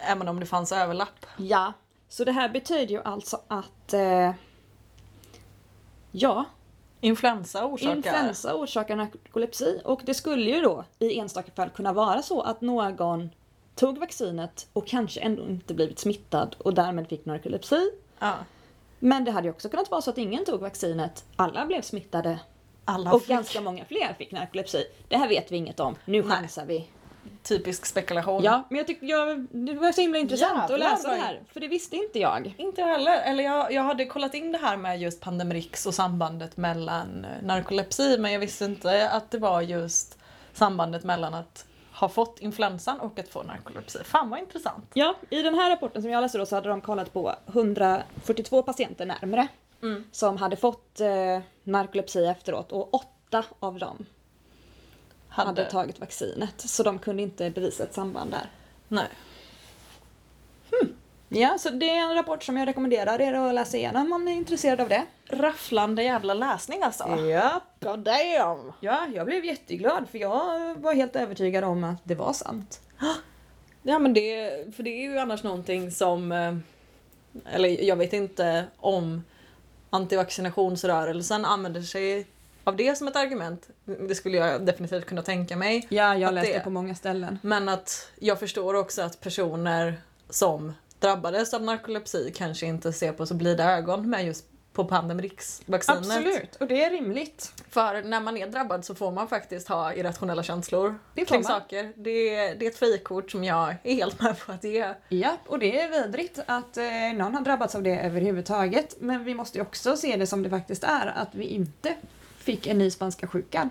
B: Även om det fanns överlapp.
A: Ja, så det här betyder ju alltså att eh, ja,
B: Influensa orsakar.
A: Influensa orsakar narkolepsi och det skulle ju då i enstaka fall kunna vara så att någon tog vaccinet och kanske ändå inte blivit smittad och därmed fick narkolepsi.
B: Ja.
A: Men det hade ju också kunnat vara så att ingen tog vaccinet, alla blev smittade
B: Alla
A: och
B: fick
A: ganska många fler fick narkolepsi. Det här vet vi inget om, nu
B: Nej.
A: chansar vi.
B: typisk spekulation.
A: Ja, men jag tyckte jag, det var så himla intressant
B: Jävlar,
A: att läsa
B: vad-
A: det här, för det visste inte jag.
B: Inte jag heller. Eller jag, jag hade kollat in det här med just Pandemrix och sambandet mellan eh, narkolepsi men jag visste inte att det var just sambandet mellan att ha fått influensan och att få narkolepsi. Fan vad intressant.
A: Ja, i den här rapporten som jag läste då så hade de kollat på 142 patienter närmre
B: Mm.
A: som hade fått eh, narkolepsi efteråt och åtta av dem hade. tagit vaccinet så de kunde inte bevisa ett samband där.
B: Nej.
A: Ja, så det är en rapport som jag rekommenderar er att läsa igenom om ni är intresserade av det.
B: Rafflande jävla läsning alltså.
A: Ja.
B: God damn.
A: ja, jag blev jätteglad för jag var helt övertygad om att det var sant.
B: Ja men det, för det är ju annars någonting som, eh, eller jag vet inte om antivaccinationsrörelsen använder sig av det som ett argument. Det skulle jag definitivt kunna tänka mig.
A: Ja,
B: Att
A: jag läste
B: det-
A: det på många ställen.
B: Men att jag förstår också att personer som drabbades av narkolepsi kanske inte ser på så blida ögon med just på pandemrix-vaccinet.
A: Absolut, och det är rimligt.
B: För när man är drabbad så får man faktiskt ha irrationella känslor
A: Det får
B: kring
A: man.
B: saker. Det, är- det är ett frikort som jag är helt med på att ge.
A: Ja, och det är vidrigt att eh, någon har drabbats av det överhuvudtaget. Men vi måste ju också se det som det faktiskt är, att vi inte fick en ny spanska sjukan.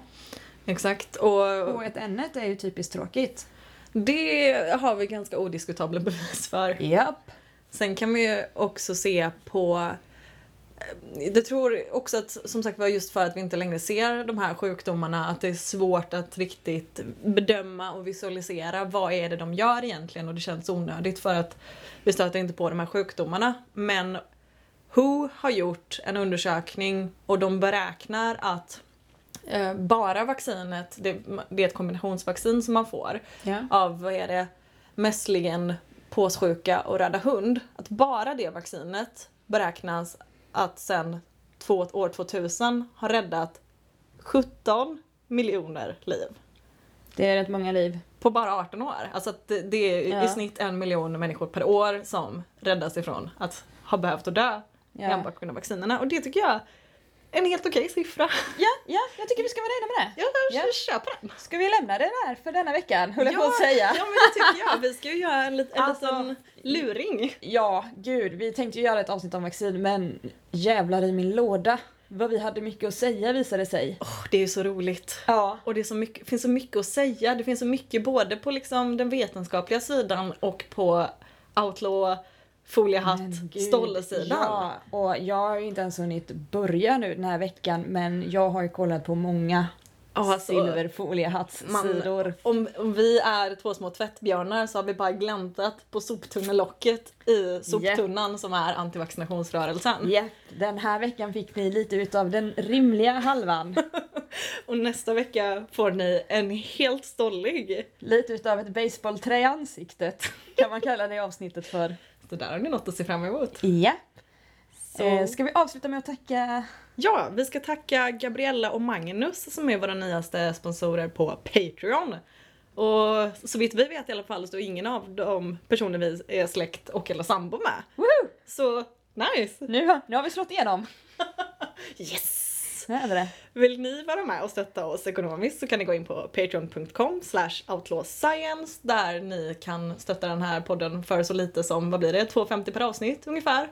B: Exakt. Och,
A: Och ett n är ju typiskt tråkigt.
B: det har vi ganska odiskutabla *laughs* bevis för.
A: Japp.
B: Sen kan man ju också se på jag tror också att som sagt var just för att vi inte längre ser de här sjukdomarna att det är svårt att riktigt bedöma och visualisera vad är det de gör egentligen och det känns onödigt för att vi stöter inte på de här sjukdomarna. Men WHO har gjort en undersökning och de beräknar att eh, bara vaccinet, det, det är ett kombinationsvaccin som man får,
A: Ja.
B: av vad är det, mässlingen, påssjuka och röda hund. Att bara det vaccinet beräknas att sen två, år 2000 har räddat 17 miljoner liv.
A: Det är rätt många liv.
B: På bara 18 år. Alltså att det, det är
A: Ja.
B: i snitt en miljon människor per år som räddas ifrån att ha behövt att dö
A: Ja.
B: enbart på grund av vaccinerna. Och det tycker jag är en helt okej siffra. *laughs*
A: Ja, ja, jag tycker vi ska vara nöjda med det.
B: Jag
A: Ja.
B: köper den.
A: Ska vi lämna det där för denna veckan, höll jag på att säga.
B: ja men det tycker jag. Vi ska ju göra en, lit, en
A: Alltså-
B: liten luring.
A: Ja, gud, vi tänkte ju göra ett avsnitt om vaccin men jävlar i min låda. Vad vi hade mycket att säga visade sig.
B: Åh, det är ju så roligt.
A: Ja.
B: Och det är så mycket, finns så mycket att säga. Det finns så mycket både på liksom den vetenskapliga sidan och på outlaw,
A: Men
B: foliehatt,
A: gud,
B: stollesidan.
A: Ja, och jag har ju inte ens hunnit börja nu den här veckan men jag har ju kollat på många
B: Ja, alltså,
A: silverfoliehattssidor.
B: Om, om vi är två små tvättbjörnar så har vi bara gläntat på soptunnelocket i soptunnan som är antivaccinationsrörelsen.
A: Ja, den här veckan fick ni lite utav den rimliga halvan.
B: Och nästa vecka får ni en helt stollig.
A: lite utav ett baseballträ i ansiktet kan man kalla det avsnittet för.
B: Det där har ni något att se fram emot.
A: Ja.
B: Så-
A: Eh, ska vi avsluta med att tacka
B: Ja, vi ska tacka Gabriella och Magnus som är våra nyaste sponsorer på Patreon. Och så vitt vi vet i alla fall så är ingen av de personer vi är släkt och eller sambo med.
A: Woohoo!
B: Så nice!
A: Nu, har- nu har vi slått igenom.
B: Yes!
A: Så är det.
B: Vill ni vara med och stötta oss ekonomiskt så kan ni gå in på patreon.com slash outlawscience där ni kan stötta den här podden för så lite som, vad blir det, 2,50 per avsnitt ungefär?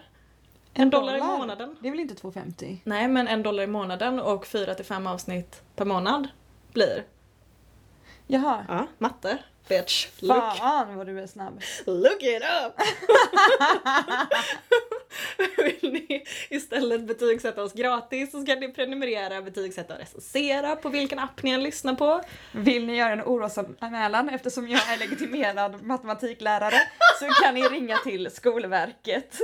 B: En dollar i månaden.
A: Det är väl inte 2,50?
B: Nej men en dollar i månaden och fyra till fem avsnitt per månad blir
A: Jaha.
B: Ja, matte. Bitch. Look,
A: Fan vad du är snabb.
B: look it up! *laughs* Vill ni istället betygsätta oss gratis så ska ni prenumerera, betygsätta och recensera på vilken app ni än lyssnar på.
A: Vill ni göra en orosanmälan eftersom jag är legitimerad matematiklärare så kan ni ringa till Skolverket.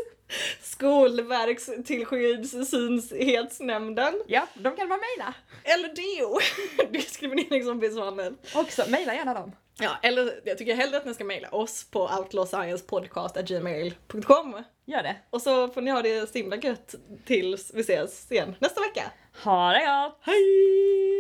B: Skolverks tillsynshetsnämnden.
A: Ja, de kan man mejla
B: Eller *laughs* DO. Diskrimineringsombudsmannen.
A: också. Mejla gärna dem.
B: Ja, eller jag tycker hellre att ni ska mejla oss på outlawsciencepodcast.gmail.com.
A: Gör det.
B: Och så får ni ha det så himla gött tills vi ses igen nästa vecka.
A: Ha det gott!
B: Hej!